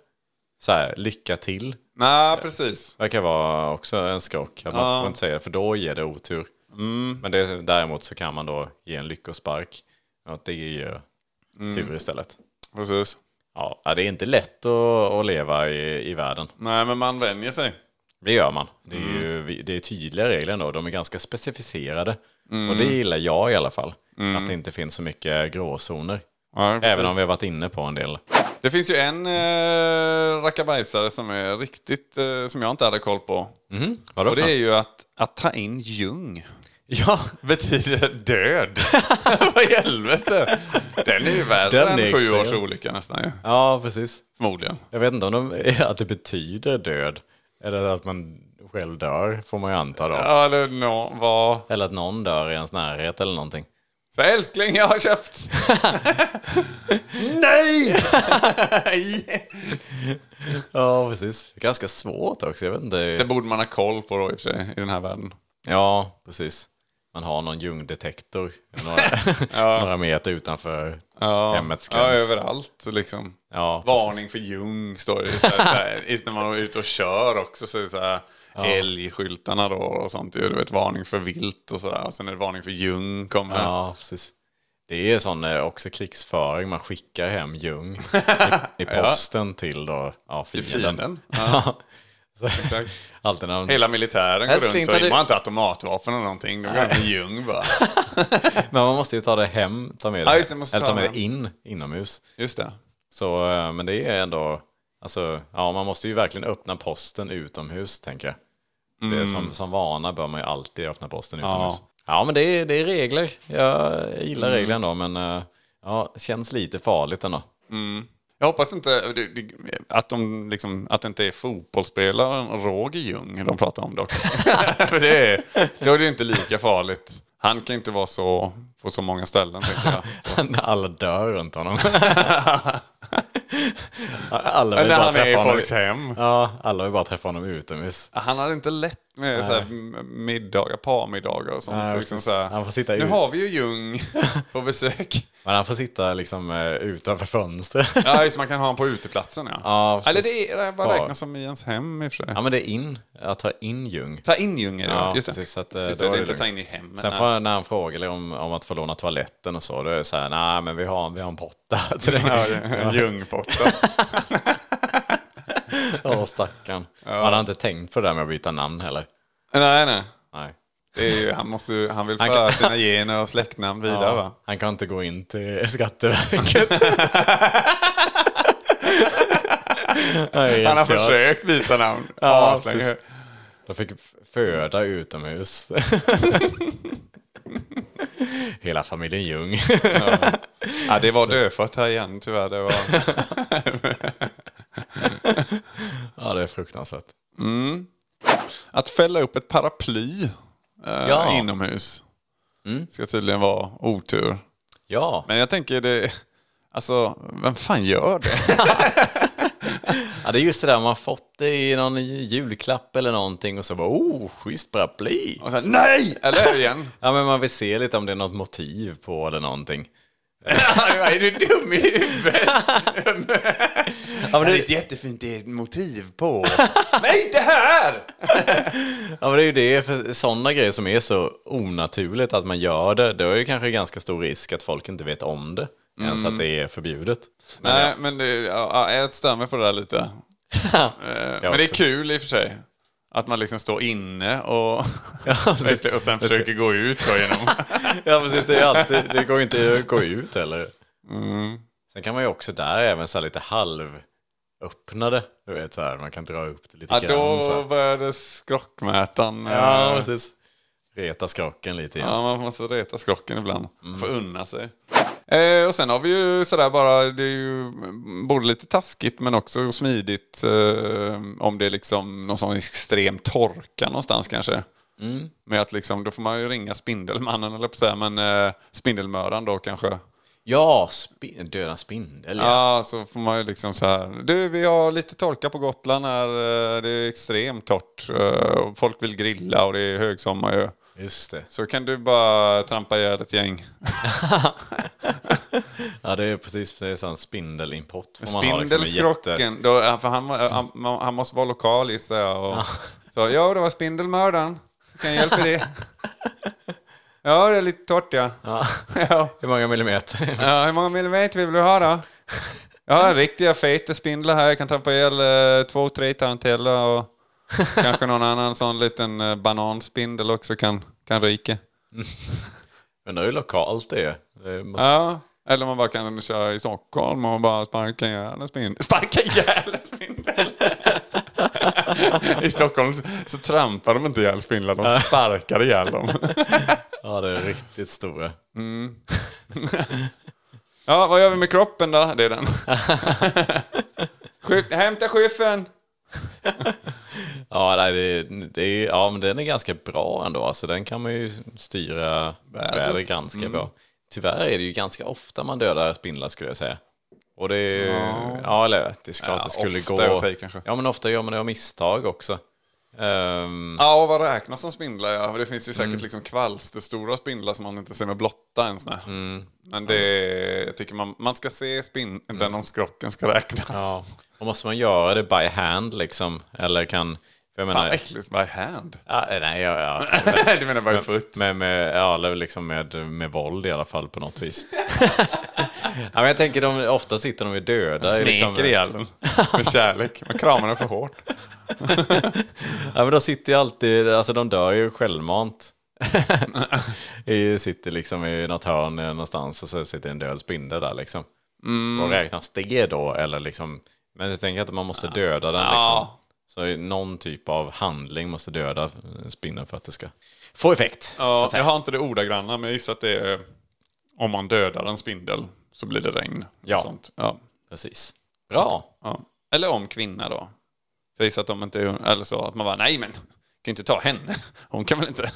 Så här, lycka till.
Nej, precis.
verkar vara också en skrock. Att man får inte säga det, för då ger det otur. Men det, däremot så kan man då ge en lyckospark. Och att det ger tur istället.
precis.
Ja, ja, det är inte lätt att, att leva i, i världen.
Nej, men man vänjer sig.
Det gör man. Det är, ju, vi- det är tydliga regler ändå. De är ganska specificerade. Och det gillar jag i alla fall. Att det inte finns så mycket gråzoner.
Ja, precis.
Även om vi har varit inne på en del.
Det finns ju en eh, rackabajsare som är riktigt, eh, som jag inte hade koll på.
Vadå
Och
för
det är
något?
ju att, att ta in ljung.
Ja,
Betyder död. Vad i helvete. Den är ju värre
Den är
än sju
extrem.
års olycka nästan ju.
ja, precis.
Förmodligen.
Jag vet inte om de, att det betyder död. Eller att man själv dör, får man ju anta då.
Ja, eller nå, vad...
Eller att någon dör i ens närhet eller någonting.
Så älskling, jag har köpt. Nej!
Ja, precis. Ganska svårt också. Jag vet
Det
inte.
borde man ha koll på då i och för sig, i den här världen.
Ja, precis. Man har någon ljungdetektor några, några meter utanför hemmets
Ja,
gräns.
överallt liksom.
Ja, precis.
Varning för ljung står det istället. så här. Just när man är ute och kör också så är det så här älgskyltarna då och sånt. ju. Du vet, varning för vilt och sådär. Och sen är det varning för ljung kommer.
Ja, precis. Det är sån eh, också krigsföring. Man skickar hem ljung i, i posten till då, ja,
Till
fienden.
fienden.
Ja. Så,
Exakt.
alltid när de
Hela militären går
Älskling, tar
runt så. De
du-
har inte automatvapen eller någonting. De går runt med ljung bara.
Men man måste ju ta det hem, ta med det,
Ja, just det, måste
eller
ta
ta med
det
det in inomhus.
Just det.
Så, eh, men det är ändå, alltså, ja man måste ju verkligen öppna posten utomhus tänker jag. Det är
Mm.
som, som vana bör man ju alltid öppna posten utomhus. Ja, men det är, det är regler. Jag gillar
Mm.
regler ändå, men eh, ja, känns lite farligt ändå.
Jag hoppas inte det- det- att, de liksom, att det inte är fotbollsspelaren Roger Ljung de pratar om dock. För det är, då är det inte lika farligt. Han kan inte vara så på så många ställen tänker jag.
När alla dör runt honom. alla vill
När
bara
han är i
träffa honom.
folks hem.
Ja, alla vill bara träffa honom utomhus.
Han hade inte lätt med så här, m- middagar, parmiddagar och sånt.
Nej,
liksom
precis.
så här,
Han får sitta
nu
ut.
har vi ju Ljung på besök.
Men han får sitta liksom eh, utanför fönstret.
ja, just, man kan ha honom på uteplatsen ja.
Ja,
Eller
precis.
det är, vad
Bar.
räknas som i ens hem i och för sig.
Ja men det är in, att ta in Ljung.
Ta in Ljung är det
Ja,
va? just det.
precis, så att, eh,
just
då
det,
är
det är
det
inte ta in
lugnt.
i hemmen.
Sen
nej.
får, när han frågar om, om att få låna toaletten och så, då är det så här, nej men vi har, vi har en potta till dig.
Ja, det är en ljungpotta.
Åh stackarn. Han har inte tänkt på det där med att byta namn heller.
nej, nej.
Nej.
Det är ju, han, måste, ju- han vill
Han
föra
kan-
sina gener och släktnamn vidare va?
Han kan inte gå in till Skatteverket. Nej,
Han har
helt kört.
försökt byta namn.
Ja,
Aslänge.
precis. De fick f- föda utomhus. Hela familjen Ljung.
ja, det var dödfött här igen tyvärr. Det var...
ja, det är fruktansvärt.
Att fälla upp ett paraply eh,
Ja. Mm.
inomhus ska tydligen vara otur.
Ja,
Men jag tänker det... Alltså, vem fan gör det?
Ja, det är just det där man har fått det i någon julklapp eller någonting och så bara oh, schysst paraply.
Och sen, nej! Eller igen.
Ja, men man vill se lite om det är något motiv på eller någonting.
är du dum i huvudet?
Ja, men det,
jättefint det är ett motiv på. nej, det här!
ja, men det är ju det, för sådana grejer som är så onaturligt att man gör det, då är det kanske ganska stor risk att folk inte vet om det, ens
Mm.
att det är förbjudet. Men
Nej, men det, ja, ja, jag stör mig på det där lite. Eh, men det är
också.
kul i och för sig. Att man liksom står inne och, och sen försöker gå ut då genom...
Ja, precis. Det, är alltid, det går inte att gå ut heller.
Mm.
Sen kan man ju också där även så här lite halvöppnade. Du vet så här, man kan dra upp det lite
ja,
grann. Så
då
här.
började skrockmätaren...
Ja,
eh,
precis. Reta skrocken lite igen.
Ja, man måste reta skrocken ibland. Få unna sig. Eh, och sen har vi ju sådär bara, det är ju både lite taskigt men också smidigt eh, om det är liksom någon sån extrem torka någonstans kanske. Med att liksom, då får man ju ringa Spindelmannen eller på säga, men eh, Spindelmördaren då kanske.
Ja, spin, döda spindel. Ja.
Ja, så får man ju liksom så här. Du, vi har lite torka på Gotland här. eh, Det är extremt torrt. eh, och Folk vill grilla och det är högsommar ju.
Just det.
Så kan du bara trampa ihjäl ett gäng.
Ja, det är precis det är sån spindelimport. får man ha, liksom, en jätte-
Spindelskrocken, då, ja, för han, var- han, han måste vara lokal gissar jag. Och, Så ja, det var Spindelmördaren. Kan jag hjälpa dig? ja, det är lite torrt ja. Ja. ja.
Hur många millimeter?
Hur många millimeter vill du ha då? Ja, riktiga feta spindlar här. Jag kan trampa ihjäl eh, två, tre taranteller och kanske någon annan sån liten eh, bananspindel också kan, kan ryka.
Undrar hur lokalt det är. Det måste...
Ja. Eller man bara kan köra i Stockholm och bara sparka ihjäl en spindel. Sparka ihjäl en spindel! I Stockholm så trampar de inte ihjäl spindlar, de sparkar ihjäl dem.
ja, det är riktigt stora.
Ja, vad gör vi med kroppen då? Det är den. Skyff- Hämta skyffen!
Ja, nej, det, det är, ja, men den är ganska bra ändå. Alltså, den kan man ju styra vädret ganska
Mm.
bra. Tyvärr är det ju ganska ofta man dödar spindlar skulle jag säga. Och det är ju, ja eller det är klart
Ja,
det skulle
ofta är
gå.
okej, kanske.
Ja men ofta gör man det av misstag också. Ehm,
Ja, och vad räknas som spindlar? Ja? Det finns ju säkert liksom kvalsterstora spindlar som man inte ser med blotta ens. Nej. Men det är, jag tycker man, man ska se spindeln om skrocken ska räknas.
ja. Och måste man göra det by hand liksom? Eller kan, för jag
Fan
menar,
vad äckligt, by hand.
ja, nej, ja, ja.
du menar by foot?
Med, med, ja, eller liksom med, med våld i alla fall på något vis. ja, men jag tänker de, ofta sitter de ju döda. i liksom-
Smeker ihjäl den med kärlek. Man kramar den för hårt.
Ja, men de sitter ju alltid, alltså de dör ju självmant. I, sitter liksom i något hörn någonstans och så sitter en död spindel där liksom.
Mm.
Och räknas det då eller liksom, men jag tänker att man måste döda den liksom.
Ja.
Så någon typ av handling måste döda spindeln för att det ska få effekt. så
Ja,
att säga.
jag har inte det ordagranna, men jag gissar att det är eh, om man dödar en spindel så blir det regn. och
Ja.
Sånt. Ja.
Precis. Bra.
ja. Eller om kvinna då. För jag gissar att de inte är, eller så, att man bara nej men, kan ju inte ta henne. Hon kan väl inte.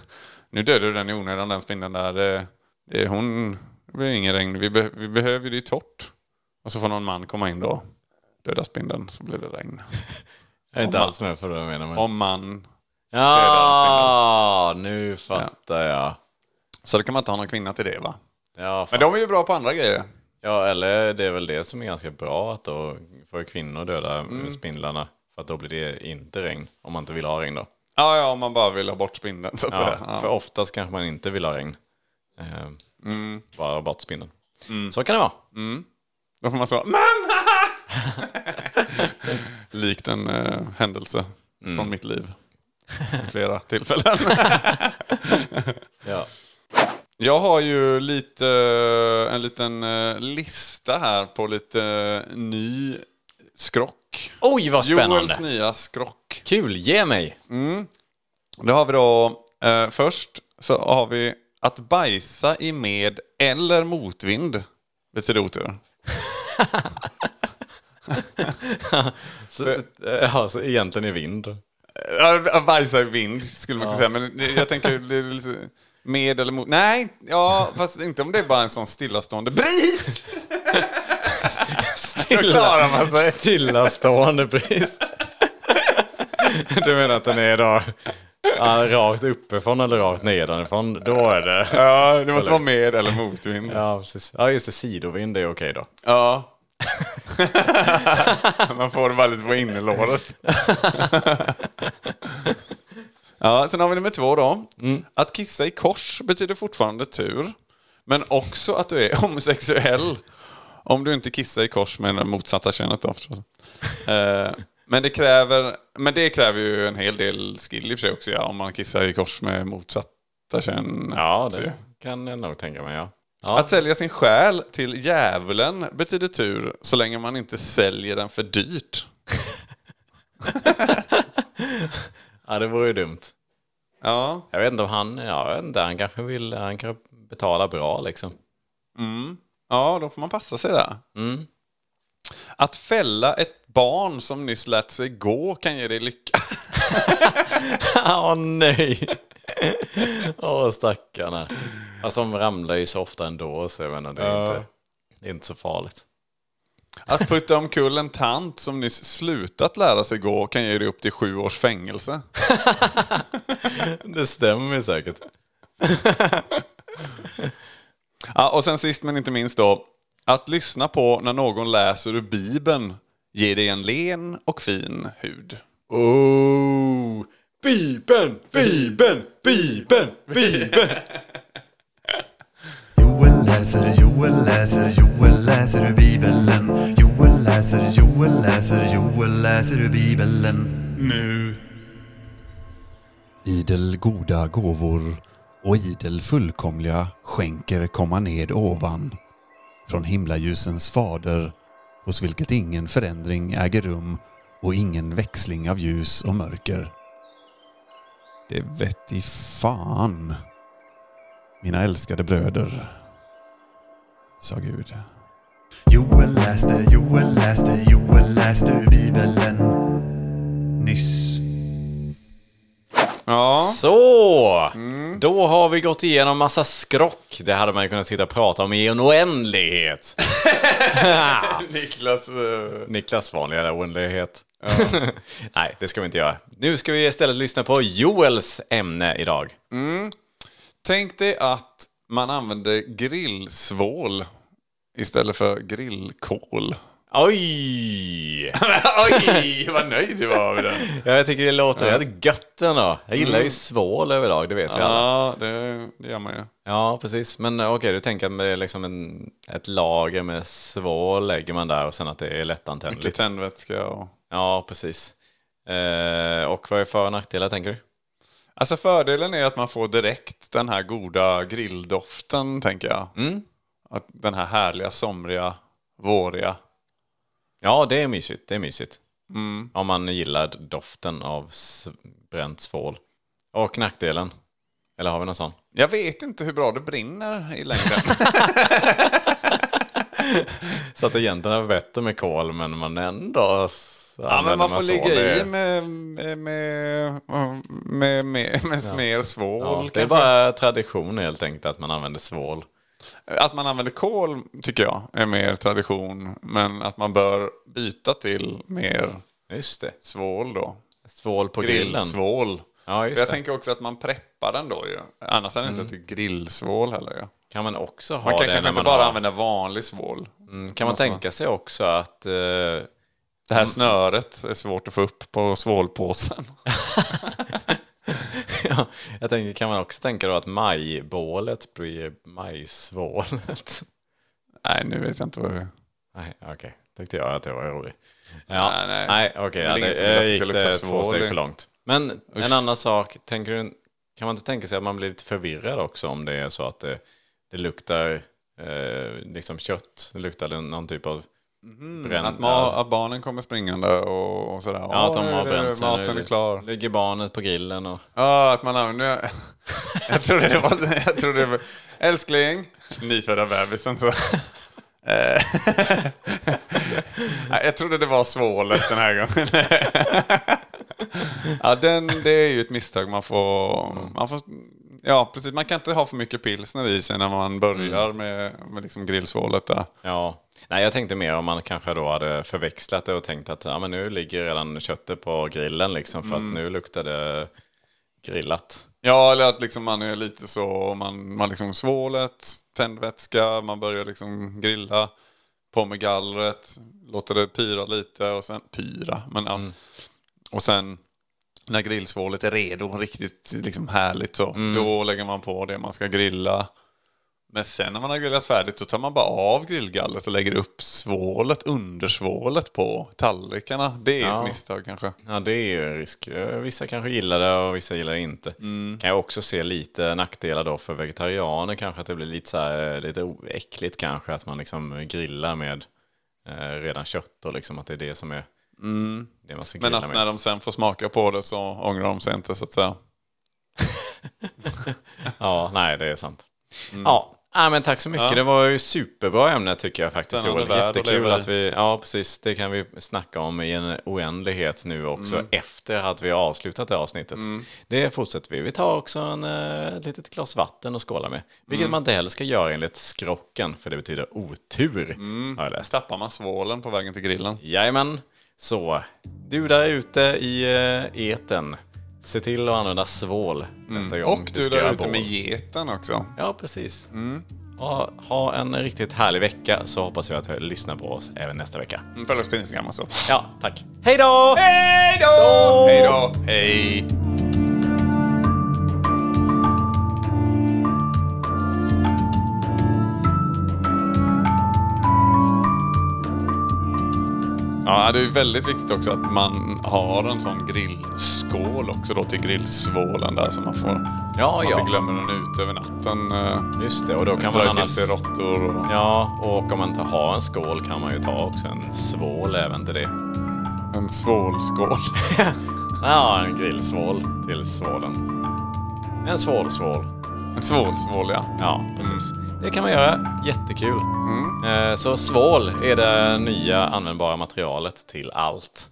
Nu dödade du den i onödan den spindeln där. Det, det, är hon, det blir ingen regn. Vi, be, vi behöver ju det ju torrt. Och så får någon man komma in då. Döda spindeln så blir det regn.
Jag är inte
Om man-
alls med för det jag menar. Men...
Om man
Ja, nu fattar jag.
Så då kan man inte ha någon kvinna till det va?
Ja,
Men
fan.
de är ju bra på andra grejer.
ja, eller det är väl det som är ganska bra att då får kvinnor döda spindlarna. För att då blir det inte regn, om man inte vill ha regn då.
Ja, ja, om man bara vill ha bort spindeln så att
Ja,
säga. Ja.
För oftast kanske man inte vill ha regn. Ehm, Bara bort spindeln. Så kan det vara.
Då får man så, mamma! Likt en eh, händelse från mitt liv. Mm. Flera tillfällen.
Ja.
Jag har ju lite, eh, en liten eh, lista här på lite eh, ny skrock.
Oj, vad
Joels
spännande!
nya skrock.
Kul, ge mig!
Då har vi då, eh, först så har vi att bajsa i med eller motvind. Betyder otur.
Så, eh, ja, så egentligen i vind.
Ja, Bajsa i vind skulle man kunna säga. Men det- jag tänker det är lite med eller mot. Nej, ja, fast inte om det är bara en sån stillastående bris.
Stilla,
klarar man sig.
Stillastående pris. Du menar att den är då ja, rakt uppifrån eller rakt nedanifrån? Då är det...
Ja, det måste vara med eller motvind. Ja.
Ja, precis. Ja, just det. Sidovind är okej då.
man får det bara lite på innerlåret. ja, sen har vi nummer två då. Att kissa i kors betyder fortfarande tur. Men också att du är homosexuell. Om du inte kissar i kors med det motsatta könet då förstås. Eh, Men det, kräver, men det kräver ju en hel del skill i och för sig också, ja, om man kissar i kors med motsatta kön.
Ja,
Så-
det kan jag nog tänka mig. Ja.
Att sälja sin själ till djävulen betyder tur så länge man inte säljer den för dyrt.
ja, det vore ju dumt.
Ja,
Jag vet inte om han, ja, jag vet inte, han kanske vill, han kanske betalar bra liksom.
ja då får man passa sig där. Att fälla ett barn som nyss lärt sig gå kan ge dig lycka.
Åh nej! Åh stackarna. Alltså de ramlar ju så ofta ändå så jag menar det är, inte, det är inte så farligt.
Att putta omkull en tant som nyss slutat lära sig gå kan ge dig upp till sju års fängelse.
Det stämmer ju säkert.
Ja, och sen sist men inte minst då. Att lyssna på när någon läser ur Bibeln ger dig en len och fin hud.
Oh! Bibeln, Bibeln, Bibeln, Bibeln!
Joel läser, Joel läser, Joel läser ur Bibeln. Joel läser, Joel läser, Joel läser ur Bibeln.
Nu.
Idel goda gåvor och idel fullkomliga skänker komma ned ovan från himlaljusens fader hos vilket ingen förändring äger rum och ingen växling av ljus och mörker. Det vet i fan, mina älskade bröder, sa Gud. Joel läste, Joel läste, Joel läste ur Bibeln nyss.
Ja,
Så! Då har vi gått igenom massa skrock. Det hade man ju kunnat sitta och prata om i en oändlighet.
Niklas... eh,
Niklas vanliga där oändlighet. Nej, det ska vi inte göra. Nu ska vi istället lyssna på Joels ämne idag.
Tänk dig att man använder grillsvål istället för grillkol.
Oj!
Oj, vad nöjd du var med den.
Ja, jag tycker det låter rätt gött ändå. Jag gillar ju svål överlag, det vet vi alla.
Ja, det, det gör man ju.
Ja, precis. Men eh, okej, du tänker med liksom en, ett lager med svål lägger man där och sen att det är
Lite
lättantändligt.
tändvätska och...
Ja, precis. Eh, och vad är för och nackdelar tänker du?
Alltså fördelen är att man får direkt den här goda grilldoften, tänker jag. Att den här härliga, somriga, våriga.
Ja, det är mysigt. Det är mysigt.
Mm.
Om man gillar doften av s- bränt svål. Och nackdelen. Eller har vi någon sån?
Jag vet inte hur bra det brinner i längden.
Så att egentligen är det bättre med kol, men man ändå... s-
ja,
använder
men man får
svål.
ligga
Det-
i med, med, med, med, med, med smer svål.
Ja, det
kanske.
är bara tradition helt enkelt att man använder svål.
Att man använder kol tycker jag är mer tradition. Men att man bör byta till mer
Just det.
svål då.
Svål på grillen.
Grillsvål.
Ja,
För
just
jag
det.
tänker också att man preppar den då ju. Annars är det inte till grillsvål heller ju.
Kan man också ha
Man kan
det
kanske
när
inte
man
bara
har...
använda Alltså. vanlig svål.
Mm, Kan man tänka sig också att... eh,
Det här snöret är svårt att få upp på svålpåsen.
ja, jag tänker, kan man också tänka då att majbålet blir majsvålet?
Nej, nu vet jag inte vad det är.
Nej, okej. Tänkte jag att det var roligt. Ja,
Nej, nej.
nej, okej.
är
ja,
ingen
det
som vill att
jag
det
gick
ska lukta
det två
svål
steg
i.
för långt. Men en annan sak, tänker du, kan man inte tänka sig att man blir lite förvirrad också om det är så att det, det luktar eh, liksom kött, det luktar någon typ av bränt...
Mhm. Att, ma- att barnen kommer springande och, och sådär.
alltså- ja, att de
Åh,
har
det-
bränt sig
Maten
nu.
är klar.
Ligger barnet på grillen och...
Ja, att man använder... Jag trodde det var... Jag trodde det var älskling, nyfödda bebisen så... Eh, Nej, jag trodde det var svålet den här gången. ja, den, det är ju ett misstag man får... Man får ja, precis. Man kan inte ha för mycket pilsner i sig när man börjar med, med liksom grillsvålet där.
Ja. Nej, jag tänkte mer om man kanske då hade förväxlat det och tänkt att ja, men nu ligger redan köttet på grillen liksom för
Mm.
att nu luktar det grillat.
Ja, eller att liksom man är lite så, man, man liksom svålet, tändvätska, man börjar liksom grilla, på med gallret, låter det pyra lite och sen, pyra, men ja.
Mm.
Och sen när grillsvålet
Mm.
är redo, riktigt liksom härligt så, då lägger man på det man ska grilla. Men sen när man har grillat färdigt då tar man bara av grillgallret och lägger upp svålet, undersvålet på tallrikarna. Det är
Ja.
ett misstag kanske.
Ja, det är ju en risk. Eh, Vissa kanske gillar det och vissa gillar det inte.
Mm.
Kan jag också se lite nackdelar då för vegetarianer kanske att det blir lite så här, eh, lite o- äckligt kanske att man liksom grillar med eh, redan kött och liksom att det är det som är det man ska
Mm. Men
grilla
att
med.
när de sen får smaka på det så ångrar de sig inte så att säga.
Ja, nej, det är sant.
Mm.
Ja. Nej, men tack så mycket. Det var ju superbra ämne tycker jag faktiskt.
Spännande
Joel.
värld att
Jättekul
leva i.
att vi... Ja, precis. Det kan vi snacka om i en oändlighet nu också
Mm.
efter att vi har avslutat det här avsnittet. Det fortsätter vi. Vi tar också en, eh, ett litet glas vatten och skåla med. Vilket
Mm.
man inte heller ska göra enligt skrocken, för det betyder otur.
Mm.
Har jag läst.
Tappar man svålen på vägen till grillen.
Jajamän. Så, du där ute i eh, eten. Se till att använda svål nästa gång
Mm. Och du
ska
där
göra
ute
bål.
med geten också.
Ja, precis. Ha, ha en riktigt härlig vecka så hoppas vi att du lyssnar på oss även nästa vecka.
Mm, Följ oss på Instagram också.
Ja, tack. Hej då! Hej då!
Hej då! Hej! Ja, det är väldigt viktigt också att man har en sån grillskål också då till grillsvålen där som man får...
Ja,
så man
ja.
inte glömmer den ute över natten. eh,
Just det, och då kan
drar
man
ju till sig
annars...
råttor och...
Ja, och om man inte har en skål kan man ju ta också en svål även till det.
En svålskål.
Ja, en grillsvål till svålen. En svålsvål.
En svålsvål, ja.
Ja, precis. Det kan man göra. Jättekul. Eh, Så svål är det nya användbara materialet till allt.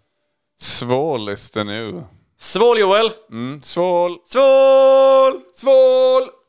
Svål is the new.
Svål, Joel!
Mm, svål!
Svål! Svål!